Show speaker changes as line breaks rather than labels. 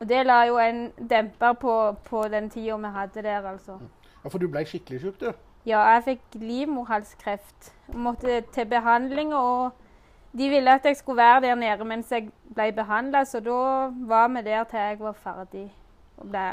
Og det la jo en demper på, på den tida vi hadde der, altså.
Ja, For du ble skikkelig syk, du.
Ja, jeg fikk livmorhalskreft. Måtte til behandling, og de ville at jeg skulle være der nede mens jeg ble behandla, så da var vi der til jeg var ferdig og ble